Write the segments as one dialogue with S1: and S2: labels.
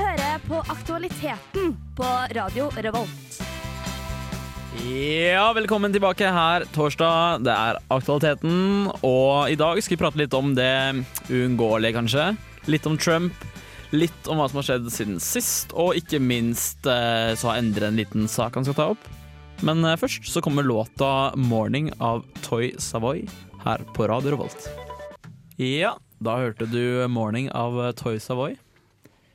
S1: og aktualiteten på Radio Revolt.
S2: Ja, velkommen tilbake her torsdag. Det er Aktualiteten. Og i dag skal vi prate litt om det uunngåelige, kanskje. Litt om Trump. Litt om hva som har skjedd siden sist, og ikke minst eh, så har Endre en liten sak han skal ta opp. Men eh, først så kommer låta 'Morning' av Toy Savoy her på Radio Revolt. Ja, da hørte du 'Morning' av Toy Savoy.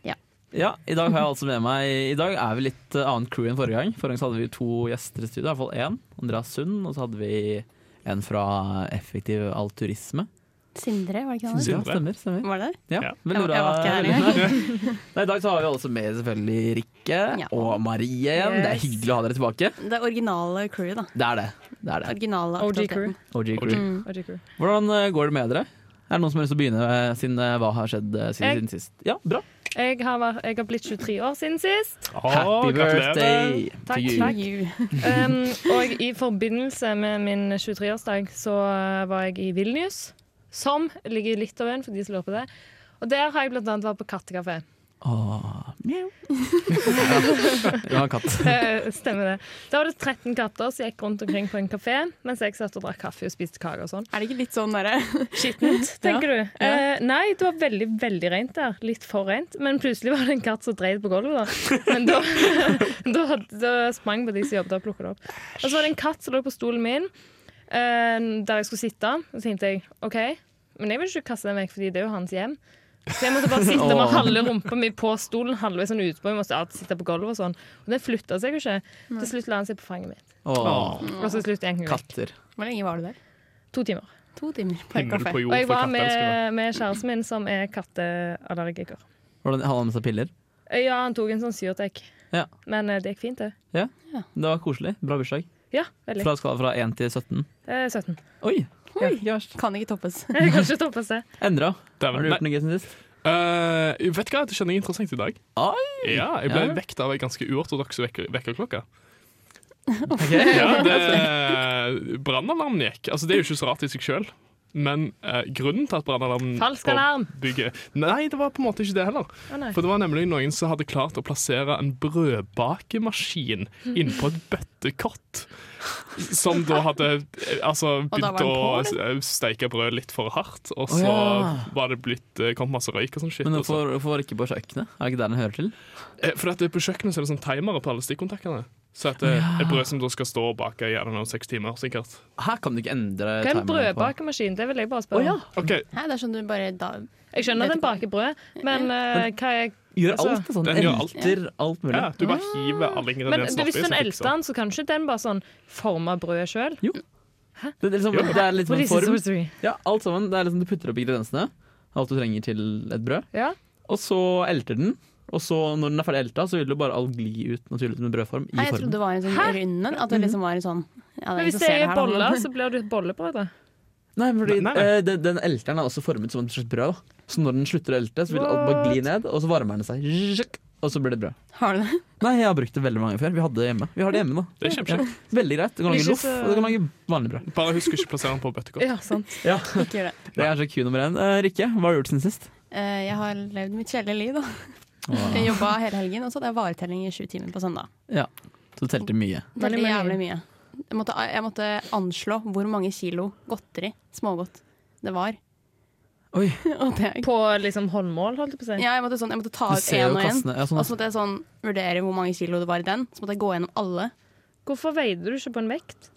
S1: Ja.
S2: Ja, I dag har jeg altså med meg I dag er vi litt eh, annet crew enn forrige gang. Forrige gang så hadde vi to gjester i studio, i hvert fall én. Andreas Sund, og så hadde vi en fra Effektiv Alturisme.
S1: Sindre, var det ikke
S2: Ja,
S1: det?
S3: Sindre.
S2: stemmer, stemmer.
S1: Var det?
S2: Ja,
S3: Ja.
S2: vel,
S1: Jeg-
S2: Nora-
S1: jeg var ikke her
S2: Nei, I dag så har vi også med selvfølgelig Rikke
S1: Ja.
S2: og Marie igjen. Det er
S1: Yes.
S2: hyggelig å ha dere tilbake.
S1: Det originale crewet, da.
S2: Det er det. det, er det.
S1: Originale
S4: OG crew.
S1: aktualiteten.
S2: OG
S3: OG.
S2: crew.
S1: Mm.
S2: Hvordan eh, går det med dere? Er det noen som har lyst til å begynne eh, siden eh, hva har skjedd eh, siden,
S4: Jeg.
S2: siden sist? Ja, bra.
S4: Jeg har, vært- jeg har blitt 23 år siden sist.
S3: Å,
S2: Happy
S3: gratulerer.
S2: birthday
S4: Takk,
S2: to you.
S4: takk.
S1: You.
S4: Um, og i forbindelse med min 23-årsdag så eh, var jeg i Vilnius, som ligger i Litauen, for de som lurer på det. Og der har jeg blant annet vært på kattekafé.
S2: Åh, mjau. ja, en katt.
S4: Eh, Stemmer det. Da var det 13 katter som gikk rundt omkring på en kafé, mens jeg satt og drakk kaffe og spiste kake og sånn.
S1: Er det ikke litt sånn derre
S4: Skittent, tenker du. Eh, nei, det var veldig, veldig rent der. Litt for rent. Men plutselig var det en katt som dreide på gulvet, da. Men da, da, da sprang på de som jobbet og plukket det opp. Og så var det en katt som lå på stolen min, eh, der jeg skulle sitte. Og så tenkte jeg OK, men jeg vil ikke kaste den vekk, fordi det er jo hans hjem. Så jeg måtte bare sitte med
S2: Åh.
S4: halve rumpa mi på stolen, halvveis sånn utpå. Jeg måtte alltid sitte på gulvet og sånn. Og den flytta seg jo ikke. Til slutt la han seg på fanget mitt.
S2: Åh,
S4: Og så til slutt gikk han vekk.
S2: katter.
S1: Hvor lenge var du der?
S4: To timer.
S1: To timer på en
S3: Himmel
S1: kafé.
S3: på jord
S4: Og jeg
S3: for
S4: var
S3: katteelskere.
S4: med, med kjæresten min, som er katteallergiker.
S2: Hvordan hadde han med seg piller?
S4: Ja, han tok en sånn Syrtec.
S2: Ja.
S4: Men eh, det gikk fint, det.
S2: Det var koselig. Bra bursdag.
S4: Ja, veldig.
S2: Fra skala fra 1 til 17.
S4: Eh, 17.
S2: Oi, ja, ikke verst.
S1: Kan ikke toppes.
S4: Kanskje toppes det.
S2: Endra.
S3: Dæven,
S2: Har du
S3: nei.
S2: gjort noe gøy siden sist?
S3: Eh, vet du hva, det skjedde noe interessant i dag.
S2: Oi!
S3: Ja, jeg ble
S2: Ja.
S3: vekt av en ganske uortodoks vekker, vekkerklokke.
S2: Ok.
S3: Ja, det- Brannalarmen gikk. Altså, det er jo ikke så rart i seg sjøl, men eh, grunnen til at
S2: Mm.
S3: brannalarmen
S4: Falsk
S3: på
S4: alarm!
S3: bygget Nei, det var på en måte ikke det heller.
S4: Å nei.
S3: For det var nemlig noen som hadde klart å plassere en brødbakemaskin innpå et bøttekott. Som da hadde eh, altså,
S1: Og da
S3: begynt
S1: var den
S3: å
S1: på,
S3: s- eh, steike brød litt for hardt, og
S2: Å
S3: så
S2: ja.
S3: var det blitt, eh, kom masse røyk og sånn shit.
S2: Men
S3: og så-
S2: hvorfor, hvorfor ikke på kjøkkenet? Er det ikke der den hører til?
S3: Eh, For at det på kjøkkenet så er det sånn timere på alle stikkontaktene. Så at det er brød som da skal stå og bake i I don't know, seks timer, sikkert.
S2: Her kan du ikke endre
S4: Hva er en
S2: timeren på.
S4: brødbakemaskin? Det vil jeg bare
S2: Å
S4: spørre
S2: ja.
S4: om.
S3: OK,
S1: Hæ, det er sånn du bare da
S4: Jeg skjønner at den
S1: Vet
S4: baker brød, men eh, hva er
S2: Gjør
S4: Altså,
S2: alt det sånn.
S3: den gjør alt.
S2: Elter alt mulig.
S3: ja, du bare hiver alle
S4: Men
S3: ingrediensene oppi.
S4: hvis du
S3: så
S4: elter
S3: fikser-
S4: den, så kan ikke den bare sånn forme brødet sjøl?
S2: Det, er liksom,
S3: Ja.
S2: det er litt sånn form.
S4: Ja.
S2: Ja, alt sammen. Det er liksom du putter opp ingrediensene, alt du trenger til et brød, og så elter den. Og så når den er ferdig elta, så vil jo bare all gli ut naturlig med brødform i
S1: Nei, jeg
S2: formen.
S1: trodde det var en sånn
S4: Hæ?
S1: rund en. At det liksom var en sånn ja,
S4: Men hvis
S1: er ingen som
S4: det
S1: ser
S4: er
S1: her, da, men-
S4: boller, så blir det et bollebrød, da.
S2: Nei, fordi
S3: Nei, nei, nei.
S2: eh, den, den elteren er også formet som et slags brød. da. Så når den slutter å elte, så vil alt bare gli ned, og så varmer den seg. Zzzz, Og så blir det brød.
S1: Har du det?
S2: Nei, jeg har brukt det veldig mange før. Vi hadde det hjemme. Vi har det hjemme nå.
S3: Det er kjempekjekt.
S2: Veldig greit. Du kan lage
S4: Ikke
S2: loff,
S4: så-
S2: og du kan lage vanlig brød.
S3: Bare husk å ikke plassere den på bøttekott.
S4: Ja, sant.
S2: Ja,
S1: Ikke gjør det.
S2: Det er kanskje Q nummer én. Eh, Rikke, hva har du gjort siden sist?
S1: Eh, jeg har levd mitt kjedelige liv, da. Jeg jobba hele helgen, og så hadde jeg varetelling i sju timer på søndag.
S2: Ja, så du telte mye.
S1: Det
S4: Veldig
S1: ble
S4: mye.
S1: jævlig mye. Jeg måtte, jeg måtte eh, anslå hvor mange kilo godteri, smågodt, det var.
S2: Oi,
S1: Og det,
S4: På liksom håndmål, holdt jeg på å si.
S1: ja, jeg, måtte sånn, jeg måtte ta
S2: du
S1: ut
S2: ser
S1: én
S2: jo
S1: og én.
S2: kassene. Ja, sånn, ja.
S1: Og så måtte jeg sånn vurdere hvor mange kilo det var i den. Så måtte jeg gå gjennom alle.
S4: Hvorfor veide du ikke på en vekt?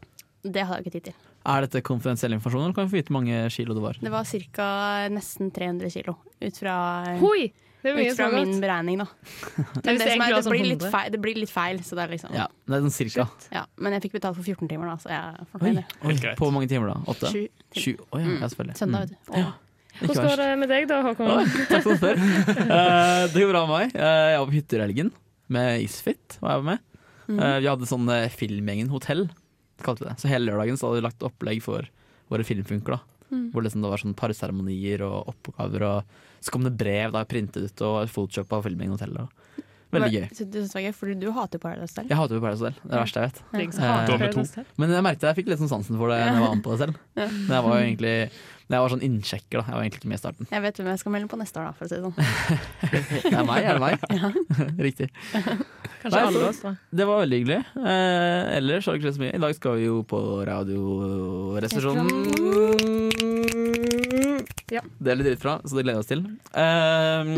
S1: Det hadde jeg ikke tid til.
S2: Er dette konfidensiell informasjon, eller kan vi få vite hvor mange kilo det var?
S1: Det var ca. nesten 300 kilo. Ut fra,
S4: Hoi! Det er mye
S1: ut fra
S4: smågodt.
S1: min beregning, da.
S4: Men
S1: Men
S4: hvis
S1: det,
S4: jeg egentlig
S1: som er, det,
S4: var sånn
S1: blir litt
S4: 100?
S1: feil, det blir litt feil, så det er liksom
S2: Ja, det er sånn cirka.
S1: ja. Men jeg fikk betalt for 14 timer, da, så jeg er
S2: Oi,
S1: fornøyd.
S2: oi,
S3: Helt greit.
S2: på hvor mange timer da? Åtte?
S1: Sju. til- Mm.
S2: Sju. Å ja, ja, selvfølgelig.
S1: Søndag, vet du. Og-
S2: Mm, Ikke
S4: Hvordan går
S2: verst.
S4: det med deg da, Håkon?
S2: Oi, Takk for at du spør. Eh, det går bra med meg. Eh, jeg var på hytter i helgen med Isfit. Var jeg med.
S1: Mm.
S2: Eh, vi hadde sånn eh, Filmgjengen hotell, kalte vi det. Så hele lørdagen så hadde vi lagt opplegg for våre filmfunker. da.
S1: Mm.
S2: Hvor liksom det var sånn parseremonier og oppgaver, og så kom det brev da printet ut og photoshoppet av Filmgjengen hotell. Og. Veldig gøy.
S1: Så du synes det var gøy, fordi du hater Paradise Hotel.
S2: Jeg hater jo Paradise Hotel. Det er det verste jeg vet.
S4: Jeg som hater
S3: Dobbelt to.
S4: Paradise Hotel.
S2: Men jeg merket jeg fikk litt sånn sansen for det når jeg var med på det selv. Men jeg var jo egentlig Jeg var sånn innsjekker, da. Jeg var egentlig ikke med i starten.
S1: Jeg vet hvem jeg skal melde på neste år, da, for å si det sånn.
S2: Det er meg, er det meg? Riktig.
S4: Kanskje
S2: Nei,
S4: alle
S2: så-
S4: oss, da.
S2: Det var veldig hyggelig. Eh, ellers har det ikke skjedd så mye. I dag skal vi jo på Radioresepsjonen.
S4: Ja.
S2: Det er litt dritt fra, så det gleder vi oss til. Eh,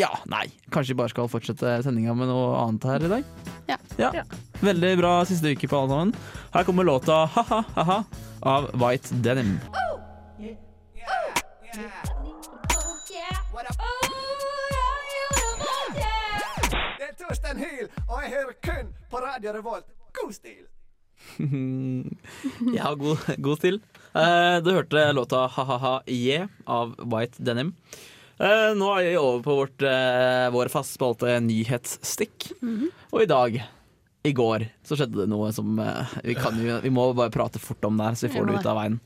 S2: ja, nei. Kanskje vi bare skal fortsette sendinga med noe annet her i dag?
S1: Ja.
S4: Ja.
S2: Veldig bra siste uke på alle sammen. Her kommer låta Ha-ha ha-ha av White Denim.
S5: Det er Torstein Hyl, og jeg hører kun på Radio Revolt. God stil!
S2: Jeg har god, god stil. Eh, du hørte låta Ha-ha-ha yeah av White Denim. Eh, nå er vi over på vårt, eh, vår fast spalte nyhetsstikk.
S4: Mhm.
S2: Og i dag, i går, så skjedde det noe som eh, vi, kan jo, vi må bare prate fort om det her, så vi får det ut av veien.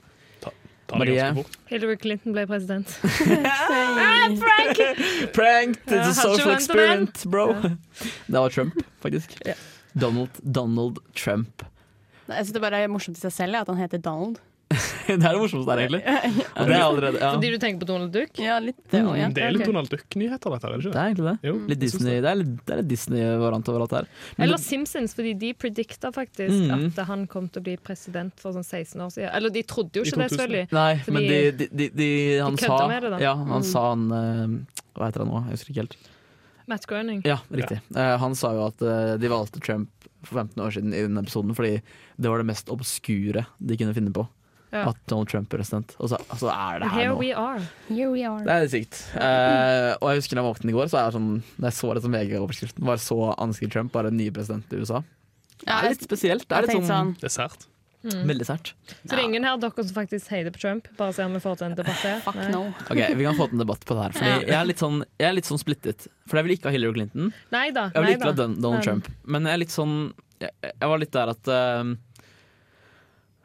S3: Ta det
S2: Marie.
S3: ganske fort.
S4: Hillary Clinton ble president. Ah,
S2: Prank! It's a
S4: Ja, hadde ikke
S2: social
S4: ventet den.
S2: experiment, bro! Det var Trump, faktisk.
S4: Ja.
S2: Donald, Donald Trump.
S1: Nei, Jeg synes det bare er morsomt i seg selv ja, at han heter Donald.
S2: Det er det morsomste her, egentlig. Og det er allerede ja.
S4: Fordi du tenker på Donald Duck?
S1: Ja, litt det òg, ja.
S3: Mm. Det er litt
S4: ok.
S3: Donald Duck-nyheter, dette, er det
S2: Det
S3: ikke?
S2: er egentlig det.
S3: Jo,
S2: Litt
S3: jeg synes
S2: Disney, det er litt, det er litt Disney-variant over alt her. Men
S4: Eller
S2: det,
S4: Simpsons, fordi de predikta faktisk
S2: Mhm.
S4: at han kom til å bli president for sånn 16 år siden. Eller de trodde jo
S3: I
S4: ikke det,
S3: 2000.
S4: selvfølgelig.
S2: nei,
S4: fordi-
S2: men de, de, de, de han
S4: kødda
S2: sa
S4: med det da.
S2: Ja, han sa han eh, Hva heter han nå? Jeg husker ikke helt.
S4: Matt Groening.
S2: Ja, riktig. Eh, han sa jo at eh, de valgte Trump for 15 år siden i den episoden fordi det var det mest obskure de kunne finne på.
S4: Ja.
S2: At Donald Trump er president. Og så, og så er det her
S4: Here
S2: nå.
S4: we are.
S1: Here we are.
S2: Det er litt sykt. Eh, og jeg husker da jeg våknet i går, så er jeg sånn, da jeg så det som VG-overskriften, bare så ansiktet Trump, bare nye president i USA. Det
S1: Ja,
S2: er litt spesielt. Det er
S1: jeg
S2: litt sånn
S1: tenkte sånn
S3: Det er sært.
S2: veldig sært.
S4: Så det er ingen her av dere som faktisk heider på Trump? Bare se om vi får til
S2: Eh,
S4: en debatt her.
S1: Fuck
S4: Nei.
S1: no.
S2: Ok, Vi kan få til en debatt på det her. Fordi
S1: Ja.
S2: jeg, er litt sånn, jeg er litt sånn splittet. For jeg vil ikke ha Hillary Clinton.
S4: Nei da.
S2: Jeg vil
S4: nei
S2: ikke ha
S4: da.
S2: Don- Donald
S4: Men-
S2: Trump. Men jeg er litt sånn Jeg, jeg var litt der at ehm,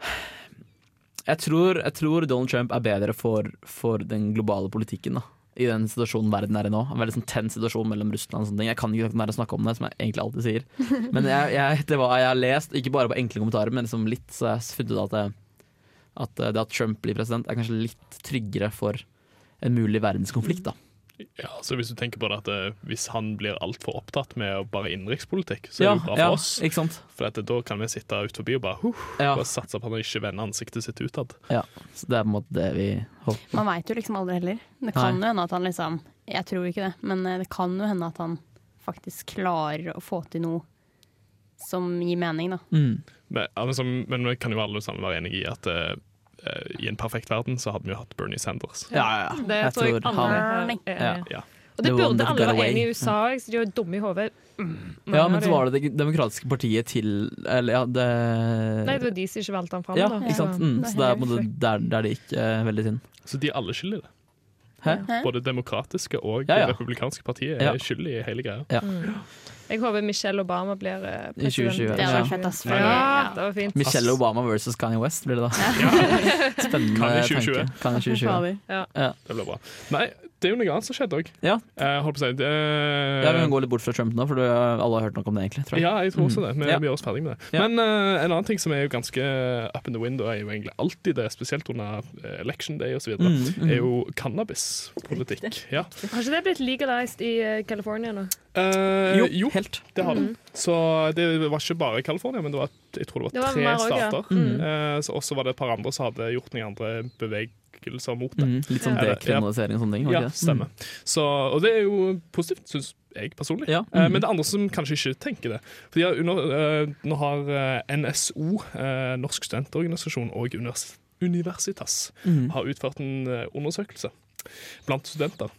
S2: jeg, tror, jeg tror Donald Trump er bedre for, for den globale politikken. da i den situasjonen verden er i nå. En veldig sånn tenn situasjon mellom Russland og sånne ting. Jeg kan ikke nære snakke om det, som jeg egentlig alltid sier. Men jeg, jeg, det var jeg har lest, ikke bare på enkle kommentarer, men liksom litt, så jeg funnet ut at, det, at eh, det at Trump blir president, er kanskje litt tryggere for en mulig verdenskonflikt,
S3: Mm.
S2: da.
S3: Ja, så hvis du tenker på det at eh, hvis han blir altfor opptatt med bare innenrikspolitikk, så er det jo bra for
S2: ja,
S3: oss.
S2: Ikke sant?
S3: For at eh, da kan vi sitte ut forbi og bare, huh,
S2: Ja,
S3: bare satse på at han ikke vender ansiktet sitt utad.
S2: ja. Så det er på en måte det vi holdt på.
S1: Man veit jo liksom aldri heller. Det kan jo hende at han liksom Jeg tror ikke det, men eh, det kan jo hende at han faktisk klarer å få til noe som gir mening, da.
S2: Mm.
S3: Men, ja, men, som, men vi kan jo alle sammen være enige i at eh, eh, i en perfekt verden så hadde vi jo hatt Bernie Sanders.
S2: Ja, ja, ja.
S4: Det
S2: Jeg
S4: tror jeg
S2: tror
S4: alle
S2: han-
S4: her er
S2: Ja.
S4: enige i.
S3: Ja.
S4: Og det
S2: The one
S4: burde
S2: that
S4: alle
S2: got
S4: være
S2: away.
S4: enige i USA, jeg, så de er jo dumme i hodet. Mm,
S2: Ja,
S4: mange
S2: men så
S4: av de.
S2: var det det demokratiske partiet til Eller ja, det
S4: Nei, det var de som ikke valgte han fram.
S2: ja,
S4: da.
S2: ikke sant.
S4: Så-
S2: Mm, så det er på en måte der, der det gikk eh, veldig synd.
S3: Så de er alle skyldige. i det.
S2: Hæ?
S3: Både det demokratiske og
S2: Ja, ja.
S3: det republikanske partiet
S2: Ja.
S3: er skyldige i hele greia.
S4: Mm. Jeg håper Michelle Obama blir eh,
S2: I 2020,
S4: president.
S1: Det hadde
S2: Ja.
S1: vært fett, ass.
S3: Nei,
S4: Ja, det var fint.
S2: Michelle Obama versus Kanye West blir det da. Spennende
S3: Kan i
S2: tanke.
S3: 2020.
S2: Kan i 2020.
S1: Fader.
S3: Det blir bra. Nei, det er jo noe annet som skjedde òg.
S2: Ja.
S3: holdt på å si det,
S2: Ja, vi kan gå litt bort fra Trump nå, for du, alle har hørt nok om det, egentlig. Tror jeg.
S3: Ja, jeg tror også det. Vi,
S2: Ja.
S3: vi gjør oss ferdig med det.
S2: Ja.
S3: Men eh, en annen ting som er jo ganske up in the window, er jo egentlig alltid det, spesielt under eh, election day osv., videre
S2: Mm, mm.
S3: er jo cannabispolitikk. Ja.
S4: Har ikke det blitt legalized i eh, California nå?
S3: Eh,
S2: Jo,
S3: jo,
S2: helt.
S3: det har det.
S4: Mm.
S3: Så det var ikke bare California, men det var, jeg tror det
S4: Det
S3: var
S4: var
S3: tre
S4: mer også, ja.
S3: stater.
S2: Mm.
S3: Eh, så også var det et par andre som hadde gjort noen andre bevegelser mot det.
S2: Mm. Litt sånn
S3: Ja.
S2: dekriminalisering og sånne ting. var
S3: Ja,
S2: ikke det?
S3: stemmer. Så, og det er jo positivt, syns jeg personlig.
S2: Ja. Mm.
S3: Eh, men det er andre som kanskje ikke tenker det. Fordi ja, under, eh, Nå har eh, NSO, eh, Norsk studentorganisasjon, og univers Universitas
S2: Mm.
S3: har utført en eh, undersøkelse blant studenter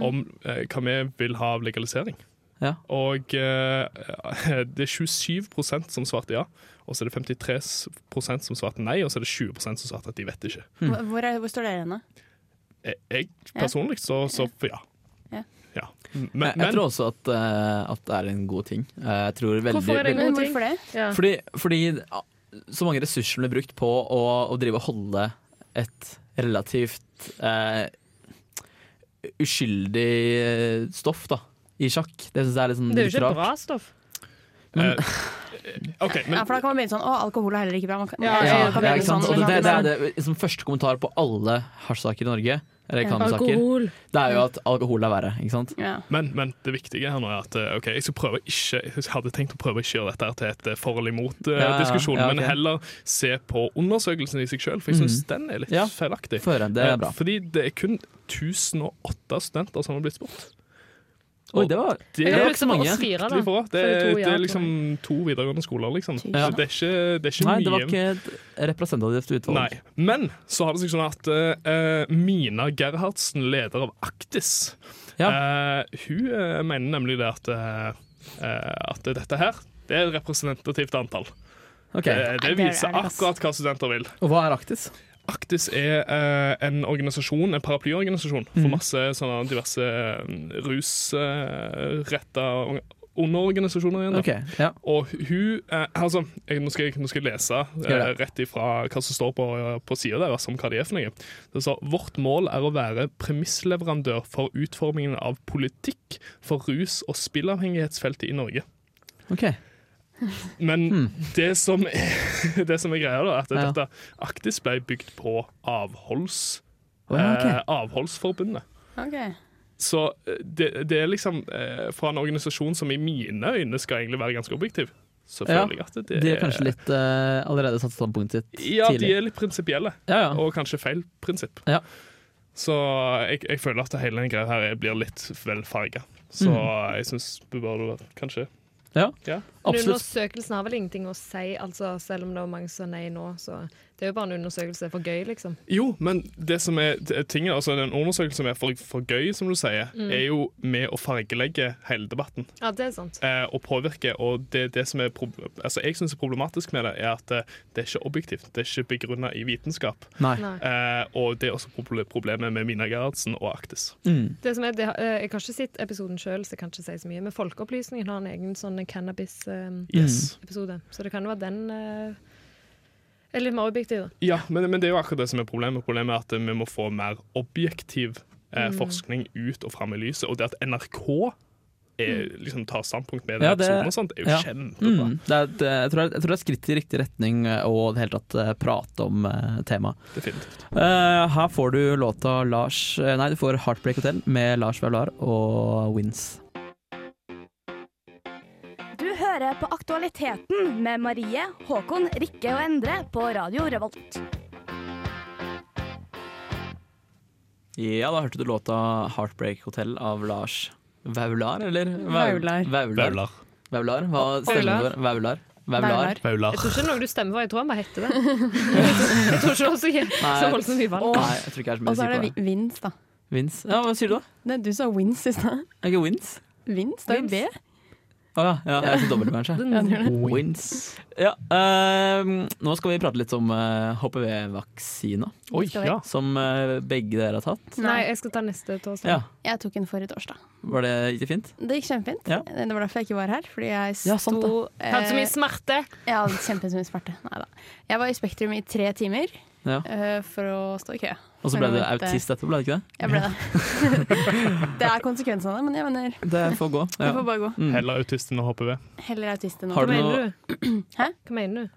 S3: om eh, hva vi vil ha av legalisering.
S2: Ja.
S3: Og eh, det er 27 som svarte ja, og så er det 53 som svarte nei, og så er det 20 som svarte at de vet ikke.
S2: Hm.
S1: Hvor, hvor er- hvor står dere henne?
S3: Eh, Jeg personlig så, så for ja.
S1: Ja.
S3: Ja. Men,
S2: Mm. Jeg, jeg
S3: men
S2: tror også at, eh, at det er en god ting. Eh, jeg tror veldig,
S4: Hvorfor er det en
S1: Men
S4: god ting.
S1: hvorfor det?
S4: Ja.
S2: Fordi, fordi ja, så mange ressurser blir brukt på å, å drive og holde et relativt eh, uskyldig eh, stoff da, i sjakk. Det synes jeg er litt sånn
S4: Det er jo
S2: litt
S4: ikke
S2: rart.
S4: bra stoff.
S3: Eh, OK, men
S1: Ja, for da kan man begynne sånn Å, alkohol er heller ikke bra. Man kan,
S4: Ja,
S1: jeg
S2: Ja,
S1: skjønner, man kan
S2: ja,
S1: begynne
S2: ikke sant?
S1: sånn,
S2: Og det,
S1: men
S2: det er
S1: sånn-
S2: det som første kommentar på alle hasjsaker i Norge, eller
S1: Ja.
S2: cannabissaker,
S4: Alkohol.
S2: det er jo at alkohol er verre. ikke sant?
S1: Ja.
S3: Men, men det viktige her nå er at eh, ok, jeg skal prøve å ikke Jeg hadde tenkt å prøve å ikke gjøre dette her til et eh, for
S2: Ja,
S3: eller
S2: ja,
S3: imot-diskusjon,
S2: ja, ok. Mm.
S3: men heller se på undersøkelsen i seg sjøl, for jeg syns den er litt
S2: Ja.
S3: feilaktig.
S2: Føre, det
S3: Eh,
S2: er bra.
S3: Fordi det er kun 1008 studenter som har blitt spurt.
S2: Oi, det var
S3: Det
S4: Jeg
S2: er
S4: har
S2: ikke så
S4: lyst til liksom å
S2: mange.
S4: svire,
S3: fryktelig
S4: da.
S3: bra. Det,
S4: For det er
S3: er-
S4: to ja
S3: det er
S4: til
S3: liksom to videregående skoler, liksom.
S1: Tusen.
S2: Ja.
S3: Så det er ikke, det er ikke
S2: Nei,
S3: mye.
S2: det var ikke et representativt utvalg.
S3: Nei. Men så har det seg sånn at eh, eh, Mina Gerhardsen, leder av Aktis, eh, hun eh, mener nemlig det at, eh, eh, at dette her det er et representativt antall. Eh,
S2: Ok,
S3: Det, det
S1: det er
S3: viser
S1: det, altså. ass.
S3: akkurat hva studenter vil.
S2: Og hva er Aktis?
S3: Aktis er eh, en organisasjon, en paraplyorganisasjon for masse sånne diverse mm, rusretta underorganisasjoner. igjen. da.
S2: Ok, ja.
S3: Og hun eh, altså, jeg, nå, skal jeg, nå skal jeg lese
S2: Skal
S3: eh,
S2: jeg
S3: rett ifra hva som står på, på sida deres om hva de er for noe. Det står vårt mål er å være premissleverandør for utformingen av politikk for rus- og spillavhengighetsfeltet i Norge.
S2: ok.
S3: Men det, som er, det som er greia, da, er at
S2: Hmm. Ja.
S3: dette Aktis ble bygd på avholds,
S2: Å, ja, ok.
S3: eh, Avholdsforbundet.
S1: Ok.
S3: Så eh, det, det er liksom eh, fra en organisasjon som i mine øyne skal egentlig være ganske objektiv. Så
S2: Ja,
S3: føler jeg at det,
S2: De har kanskje litt eh, allerede satt standpunktet sitt
S3: Ja, de
S2: tidlig.
S3: er litt prinsipielle,
S2: Ja, ja.
S3: og kanskje feil prinsipp.
S2: Ja.
S3: Så jeg, jeg føler at hele den greia her blir litt vel farga. Så
S2: Mm.
S3: jeg syns du bør kanskje
S4: Men
S2: Absolutt.
S4: undersøkelsen har vel ingenting å si, altså, selv om det var mange som sa nei nå. Så det er jo bare en undersøkelse for gøy, liksom.
S3: Jo, men det som er t- tinget, altså den undersøkelsen som er for, for gøy, som du sier, er jo med å fargelegge hele debatten
S4: Ja, det er sant.
S3: eh, og påvirke. Og det, det som er prob- altså jeg syns er problematisk med det, er at eh, det er ikke objektivt. Det er ikke begrunna i vitenskap.
S2: Nei.
S4: Nei.
S3: Eh, og det er også proble- problemet med Mina Gerhardsen og Aktis.
S2: Mm.
S4: Det som er, det, har- eh, jeg har ikke sett episoden sjøl, så jeg kan ikke si så mye. Men Folkeopplysningen har en egen sånn cannabis-episode,
S3: Yes.
S4: så det kan jo være den eh, er litt mer objektiv, da.
S3: Ja, men, men det er jo akkurat det som er problemet. Problemet er at eh, vi må få mer objektiv eh,
S4: Mm.
S3: forskning ut og fram i lyset. Og det at NRK er,
S4: Mm.
S3: liksom, tar standpunkt med den
S2: Ja, det-
S3: episoden, og sånt, er jo
S2: ja.
S3: kjempebra.
S2: Mm. Det er, et, eh, jeg, tror det er, jeg tror det er et skritt i riktig retning eh, å i det hele tatt eh, prate om eh, temaet.
S3: Definitivt.
S2: Eh, her får du låta Lars eh, Nei, du får Heartbreak Hotel med Lars Vaular og Wins.
S6: Du hører på Aktualiteten med Marie, Håkon, Rikke og Endre på Radio Revolt.
S2: Ja, da hørte du låta Heartbreak Hotel av Lars Vaular, eller? Vau-
S1: Vaular.
S2: Vaular. Vaular. Hva stemmer det for? Vaular. Vaular.
S1: Vaular.
S3: Vaular.
S4: Jeg tror ikke det er noe du stemmer for, jeg tror han bare heter det. Jeg tror ikke det var så, så voldsomt mye valg.
S2: Nei, jeg tror ikke jeg er så
S1: Og så
S2: mye
S1: er
S2: å si
S1: det
S2: på det.
S1: vi- Vins, da.
S2: Wins. Ja, hva sier du da?
S1: Nei, du sa Wins i stad.
S2: Er det ikke Wins?
S1: Vins, det er jo B.
S2: Å ja, ja, jeg sier dobbelt, kanskje. Wins. Ja, ehm, nå skal vi prate litt om eh, HPV-vaksina,
S3: Oi,
S1: Skal vi?
S3: ja.
S2: som eh, begge dere har tatt.
S4: Nei, jeg skal ta neste torsdag.
S2: Ja,
S1: Jeg tok en forrige torsdag.
S2: Var det ikke fint?
S1: Det gikk kjempefint.
S2: Ja.
S1: Det var derfor jeg ikke var her. Fordi jeg sto
S2: Ja, sant det.
S4: Jeg Hadde så mye
S1: eh,
S4: smerte.
S1: Jeg hadde kjempemye smerte. Neida. Jeg var i Spektrum i tre timer
S2: Ja.
S1: eh, for å stå i kø.
S2: Og så
S1: Men
S2: ble du
S1: jeg vet, eh,
S2: autist etterpå, ble du ikke det?
S1: Jeg ble det. det er konsekvensen av det, men jeg mener,
S2: Det får gå.
S1: vi
S2: Ja.
S1: får bare gå.
S2: Mm.
S3: Heller autisten og HPV.
S1: Heller autist enn
S2: Har
S4: Hva
S2: du
S4: mener
S2: noe-
S4: du?
S1: Hæ?
S4: Hva mener du?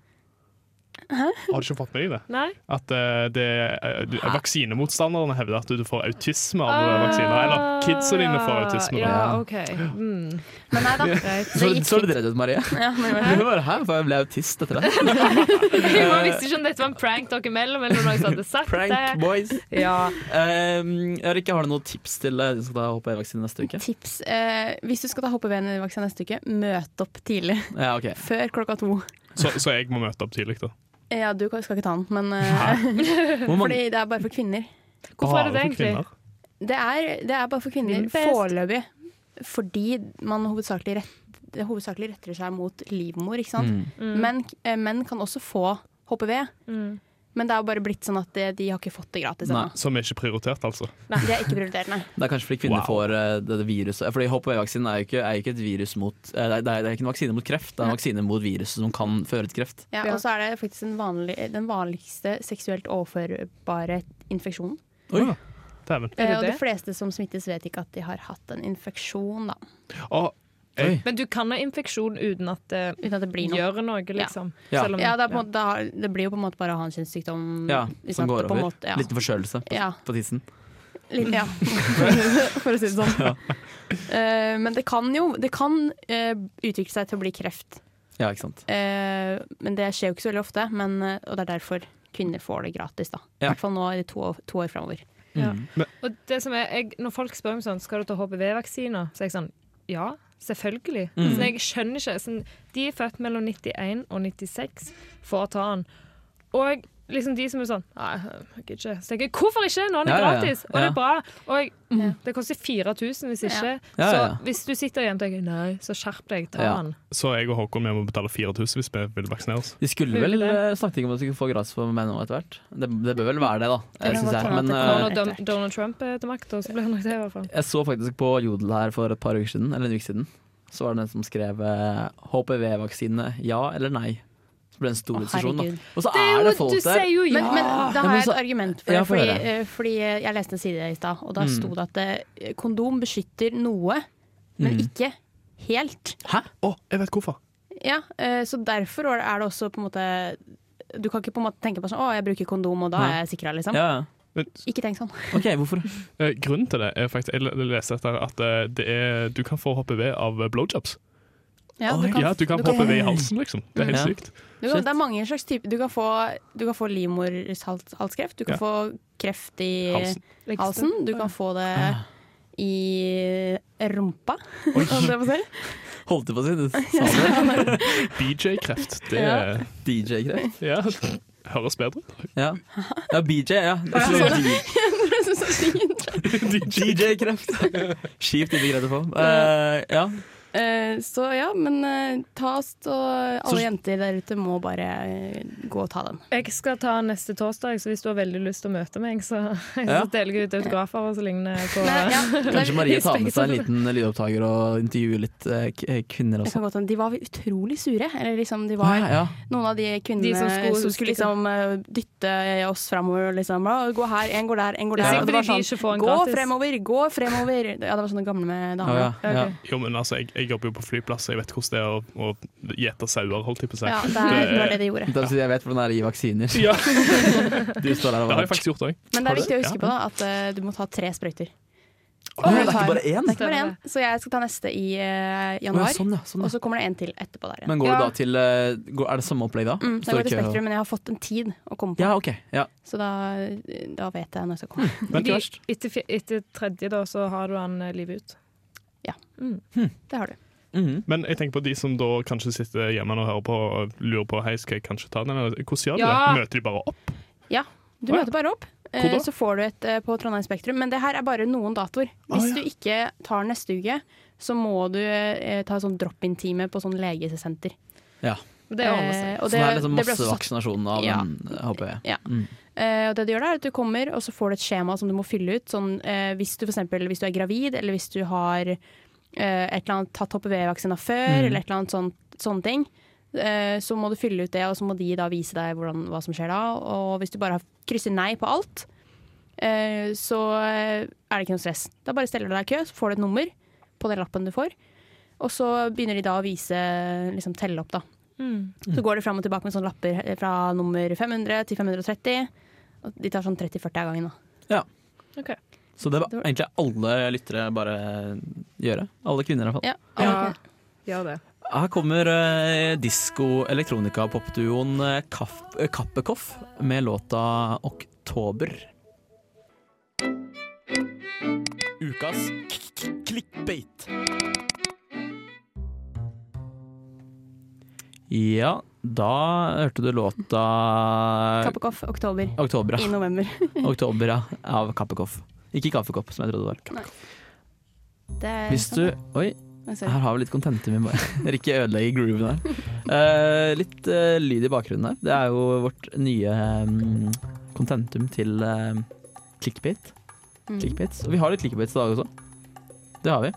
S3: Har du ikke fått med deg det?
S4: Nei?
S3: At eh, det, eh, du- vaksinemotstanderne hevder at du får autisme av eh, vaksiner. Eller kidsa dine får autisme.
S4: Ah. Ja,
S3: da.
S2: Ja.
S4: OK. Mm,
S1: Men nei da.
S4: greit.
S2: Så,
S1: Det gikk
S2: så du
S1: fint.
S2: redd ut, Marie?
S1: Ja, men det var-
S2: Du bare, Hæ, for jeg ble autist etter det.
S4: Jeg bare visste ikke om dette var en prank dere imellom, eller noe jeg hadde sagt
S2: Prank
S4: det.
S2: boys.
S4: Ja.
S2: Um, Rikke, har du noen tips til eh, de som skal ta HPV-vaksine neste uke?
S1: Tips. Eh, hvis du skal ta HPV-vaksine neste uke, møt opp tidlig.
S2: Ja, ok.
S1: Før klokka to.
S3: Så, så jeg må møte opp tidlig, da.
S1: Ja, du kan- skal ikke ta den, men eh,
S2: Hvor mange,
S1: Fordi det er bare for kvinner.
S4: Hvorfor
S2: Ah,
S4: er
S3: Bare Ah,
S4: det det
S3: for
S4: egentlig?
S3: kvinner.
S1: Det er, det er bare for kvinner
S4: Min best.
S1: foreløpig. Fordi man hovedsakelig, rett, det hovedsakelig retter seg mot livmor, ikke
S2: Mm.
S1: sant.
S4: Mm.
S1: Men eh, menn kan også få HPV. Men det er jo bare blitt sånn at de, de har ikke fått det gratis
S2: Nei.
S1: ennå.
S3: Som er ikke prioritert, altså.
S1: Det er ikke prioritert, nei.
S2: det er kanskje fordi kvinner
S3: Wow.
S2: får eh, dette viruset. Fordi HPV-vaksinen er jo ikke, er jo ikke et virus mot eh, det er, det er ikke en vaksine mot kreft, det er en vaksine mot viruset som kan føre til kreft.
S1: Ja, og så er det faktisk den, vanlig, den vanligste seksuelt overførbare infeksjonen.
S2: Oi.
S3: Ah, Dæven.
S4: Er det
S1: Eh, og de
S4: det?
S1: fleste som smittes, vet ikke at de har hatt en infeksjon, da.
S3: Og
S2: Oi.
S4: Men du kan ha infeksjon uten at det
S1: Uten at det blir noe.
S4: gjør noe, liksom.
S2: Ja.
S4: Selv om,
S1: Ja, det, er på en måte, da har- det blir jo på en måte bare å ha en kjønnssykdom.
S2: Ja,
S1: uten
S2: som
S1: at
S2: går
S1: det på en
S2: over.
S1: Måte, ja.
S2: Liten forkjølelse på,
S1: Ja.
S2: på tissen.
S1: Litt, ja. For å si det sånn. Eh, men det kan jo det kan, eh, utvikle seg til å bli kreft.
S2: Ja, ikke sant.
S1: Eh, men det skjer jo ikke så veldig ofte, men, eh, og det er derfor kvinner får det gratis. da. I
S2: Ja.
S1: hvert fall nå i de to, år- to år framover.
S4: Ja.
S2: Mm.
S4: Og det som er, jeg, når folk spør meg sånn, skal du ta HPV-vaksiner, så er jeg sånn, ja, selvfølgelig.
S2: Mm.
S4: Sånn, jeg skjønner ikke. Sånn, de er født mellom 91 og 96 for å ta den. Og liksom de som er sånn, nei, jeg gidder ikke. Så tenker jeg, hvorfor ikke? Nå er det
S2: Ja, ja, ja.
S4: gratis, og det
S2: Ja.
S4: er bra. Og jeg, mm, det koster 4000 hvis ikke.
S2: Ja, ja, ja.
S4: Så hvis du sitter hjemme og tenker, nei, så skjerp deg, ta
S2: Ja.
S4: den.
S3: så jeg og Håkon vi må betale 4000 hvis vi vil vaksinere oss.
S2: De skulle
S4: Mulig
S2: vel
S4: det.
S2: eh, snakket ikke om at de skulle få gratis for menn nå etter hvert. Det, det bør vel være det, da.
S1: Det kan
S2: synes
S1: godt
S2: jeg.
S1: hende
S2: Men
S1: at det
S2: eh,
S1: kommer.
S4: Og når Don- Donald Trump er til makt, så blir han nok det i hvert fall.
S2: jeg så faktisk på Jodel her for et par uker siden, eller en uke siden, så var det en som skrev eh, HPV-vaksine ja eller nei. Så ble det en stor
S1: Å,
S2: diskusjon. da.
S1: herregud.
S2: Og så
S4: Det er
S2: er
S4: jo,
S2: det folk
S4: du
S2: der.
S4: sier jo ja.
S1: Men, men da
S2: Ja,
S1: har
S2: men
S1: jeg
S2: så-
S1: et argument for
S2: Ja,
S1: det.
S2: få
S1: Fordi,
S2: høre.
S1: eh, fordi eh, jeg leste en side i stad, og da
S2: Mm.
S1: sto det at eh, kondom beskytter noe, men
S2: Mm.
S1: ikke helt.
S2: Hæ?
S3: Å, jeg vet hvorfor.
S1: Ja, eh, Så derfor er det også på en måte Du kan ikke på en måte tenke på sånn Å, jeg bruker kondom, og da er jeg sikra, liksom.
S2: Ja, ja.
S3: Men,
S1: Ikke tenk sånn.
S2: OK, hvorfor?
S3: eh, grunnen til det er faktisk Jeg le- leste dette her at eh, det er, du kan få HPV av eh, blowjobs.
S1: Ja,
S2: Oi.
S1: du kan,
S3: Ja, du kan
S1: du
S3: få
S1: kan-
S3: HPV i halsen, liksom. Det er helt
S2: Ja.
S3: sykt.
S1: du kan, det er mange slags typer. Du kan få, du kan få livmorhalskreft, du kan
S3: Ja.
S1: få kreft i
S3: Halsen.
S1: halsen, du kan få det
S2: Ah.
S1: i rumpa, om det var selv.
S2: Holdt du på å si det? Sa du det?
S3: BJ-kreft, det
S1: Ja.
S2: DJ-kreft?
S3: ja. høres bedre ut.
S2: Ja. ja, BJ, ja. Jeg tror det var DJ. DJ-kreft. Kjipt ikke greide å få. Eh, ja.
S1: Eh, Så ja, men eh, ta oss og alle
S2: Så-
S1: jenter der ute må bare eh, gå og ta den.
S4: Jeg skal ta neste torsdag, så hvis du har veldig lyst til å møte meg, så,
S2: Ja.
S4: så deler jeg ut autografer og så lignende på
S2: Kanskje Marie tar med seg en liten lydopptaker og intervjuer litt eh, k- eh, kvinner
S1: Jeg
S2: også.
S1: kan godt, hende- de var utrolig sure. Eller liksom de var
S2: Ja, ja.
S1: noen av de
S4: De
S1: kvinnene
S4: som
S1: som
S4: skulle-
S1: skulle, liksom eh, dytte oss framover. og Liksom, «Å, gå her, en går der, en går
S4: Det er sikkert
S1: der. Og det var sånn,
S4: fordi de ikke får en
S1: gå
S4: gratis.
S1: fremover, gå fremover! Ja, det var sånne gamle med
S2: Ja,
S1: damer.
S2: ja, ja.
S4: Ok.
S3: Jo, men altså, jeg, jeg jobber jo på flyplass, jeg vet hvordan det er å, å gjete sauer, holdt jeg på å si.
S1: Ja, det er- det var det de gjorde.
S2: Da sier jeg vet hvordan det er å gi vaksiner.
S3: Ja,
S2: Du står der og
S3: det har jeg faktisk gjort òg.
S1: Men
S3: Har
S1: det er
S3: du?
S1: viktig å huske
S3: Ja.
S1: på da, at eh, du må ta tre sprøyter.
S2: Å, det er ikke bare én?
S1: Det er ikke bare én, så jeg skal ta neste i
S2: Å,
S1: eh,
S2: ja,
S1: januar.
S2: sånn, ja, sånn,
S1: Og
S2: ja.
S1: så kommer det en til etterpå der igjen.
S2: Men går
S4: Ja.
S2: du da til eh, går, Er det samme opplegg da?
S1: Mm, jeg
S2: Står
S1: går til
S2: ikke-
S1: Spektrum, men jeg har fått en tid å komme på,
S2: Ja, OK. Ja.
S1: så da, eh, da vet jeg når jeg skal komme.
S3: Men,
S4: Vi, etter, fi- etter tredje, da, så har du han eh, livet ut.
S1: Det har du.
S2: Mhm.
S3: men jeg tenker på de som da kanskje sitter hjemme og hører på og lurer på Hei, skal jeg kanskje ta den. eller Hvordan gjør de
S4: Ja.
S3: det? Møter de bare opp?
S1: Du
S3: Å, ja.
S1: møter bare opp, eh,
S3: Hvor da?
S1: så får du et eh, på Trondheim Spektrum. Men det her er bare noen datoer. Hvis du ikke tar neste uke, så må du eh, ta sånn drop-in-time på sånn legesenter.
S2: ja.
S4: Men Det ordner seg.
S1: Eh, og
S2: Så det er liksom
S1: blir også satt-
S2: massevaksinasjon av
S1: Ja.
S2: den, eh, håper jeg.
S1: Ja.
S2: Mm.
S1: Eh, og det du gjør da, er at du kommer, og så får du et skjema som du må fylle ut. Sånn, eh, hvis du for eksempel hvis du er gravid, eller hvis du har eh, et eller annet tatt HPV-vaksina før,
S2: Mm.
S1: eller et eller annet sånt, sånne ting, eh, så må du fylle ut det, og så må de da vise deg hvordan, hva som skjer da. Og hvis du bare har- krysser nei på alt, eh, så er det ikke noe stress. Da bare steller du deg i kø, så får du et nummer på den lappen du får. Og så begynner de da å vise, liksom telle opp, da.
S4: Mm.
S1: Så går de fram og tilbake med sånne lapper eh, fra nummer 500 til 530. Og de tar sånn 30-40 av gangen. da.
S4: Ok.
S2: Så det
S1: Det
S2: bør
S1: var-
S2: egentlig alle lyttere bare gjøre. Alle kvinner, i hvert fall.
S1: Ja,
S4: Ja, gjør det.
S2: Her kommer uh, disko-elektronika-popduoen eh, Kaff- eh, Kappekoff med låta 'Oktober'. Ukas clickbait. Ja, da hørte du låta
S1: Kappekoff, oktober.
S2: Oktober,
S1: I
S2: ja.
S1: november.
S2: Oktober, ja. Av Kappekoff. Ikke Kaffekopp, som jeg trodde det var.
S1: Det er
S2: Hvis du Oi,
S1: Nei, sorry.
S2: Her har vi litt kontente vi bare Ikke ødelegge grooven her. Eh, litt eh, lyd i bakgrunnen her. Det er jo vårt nye mm, kontentum til uh, clickbait.
S1: Mm.
S2: clickbaits. Og vi har litt clickbaits i dag også. Det har vi.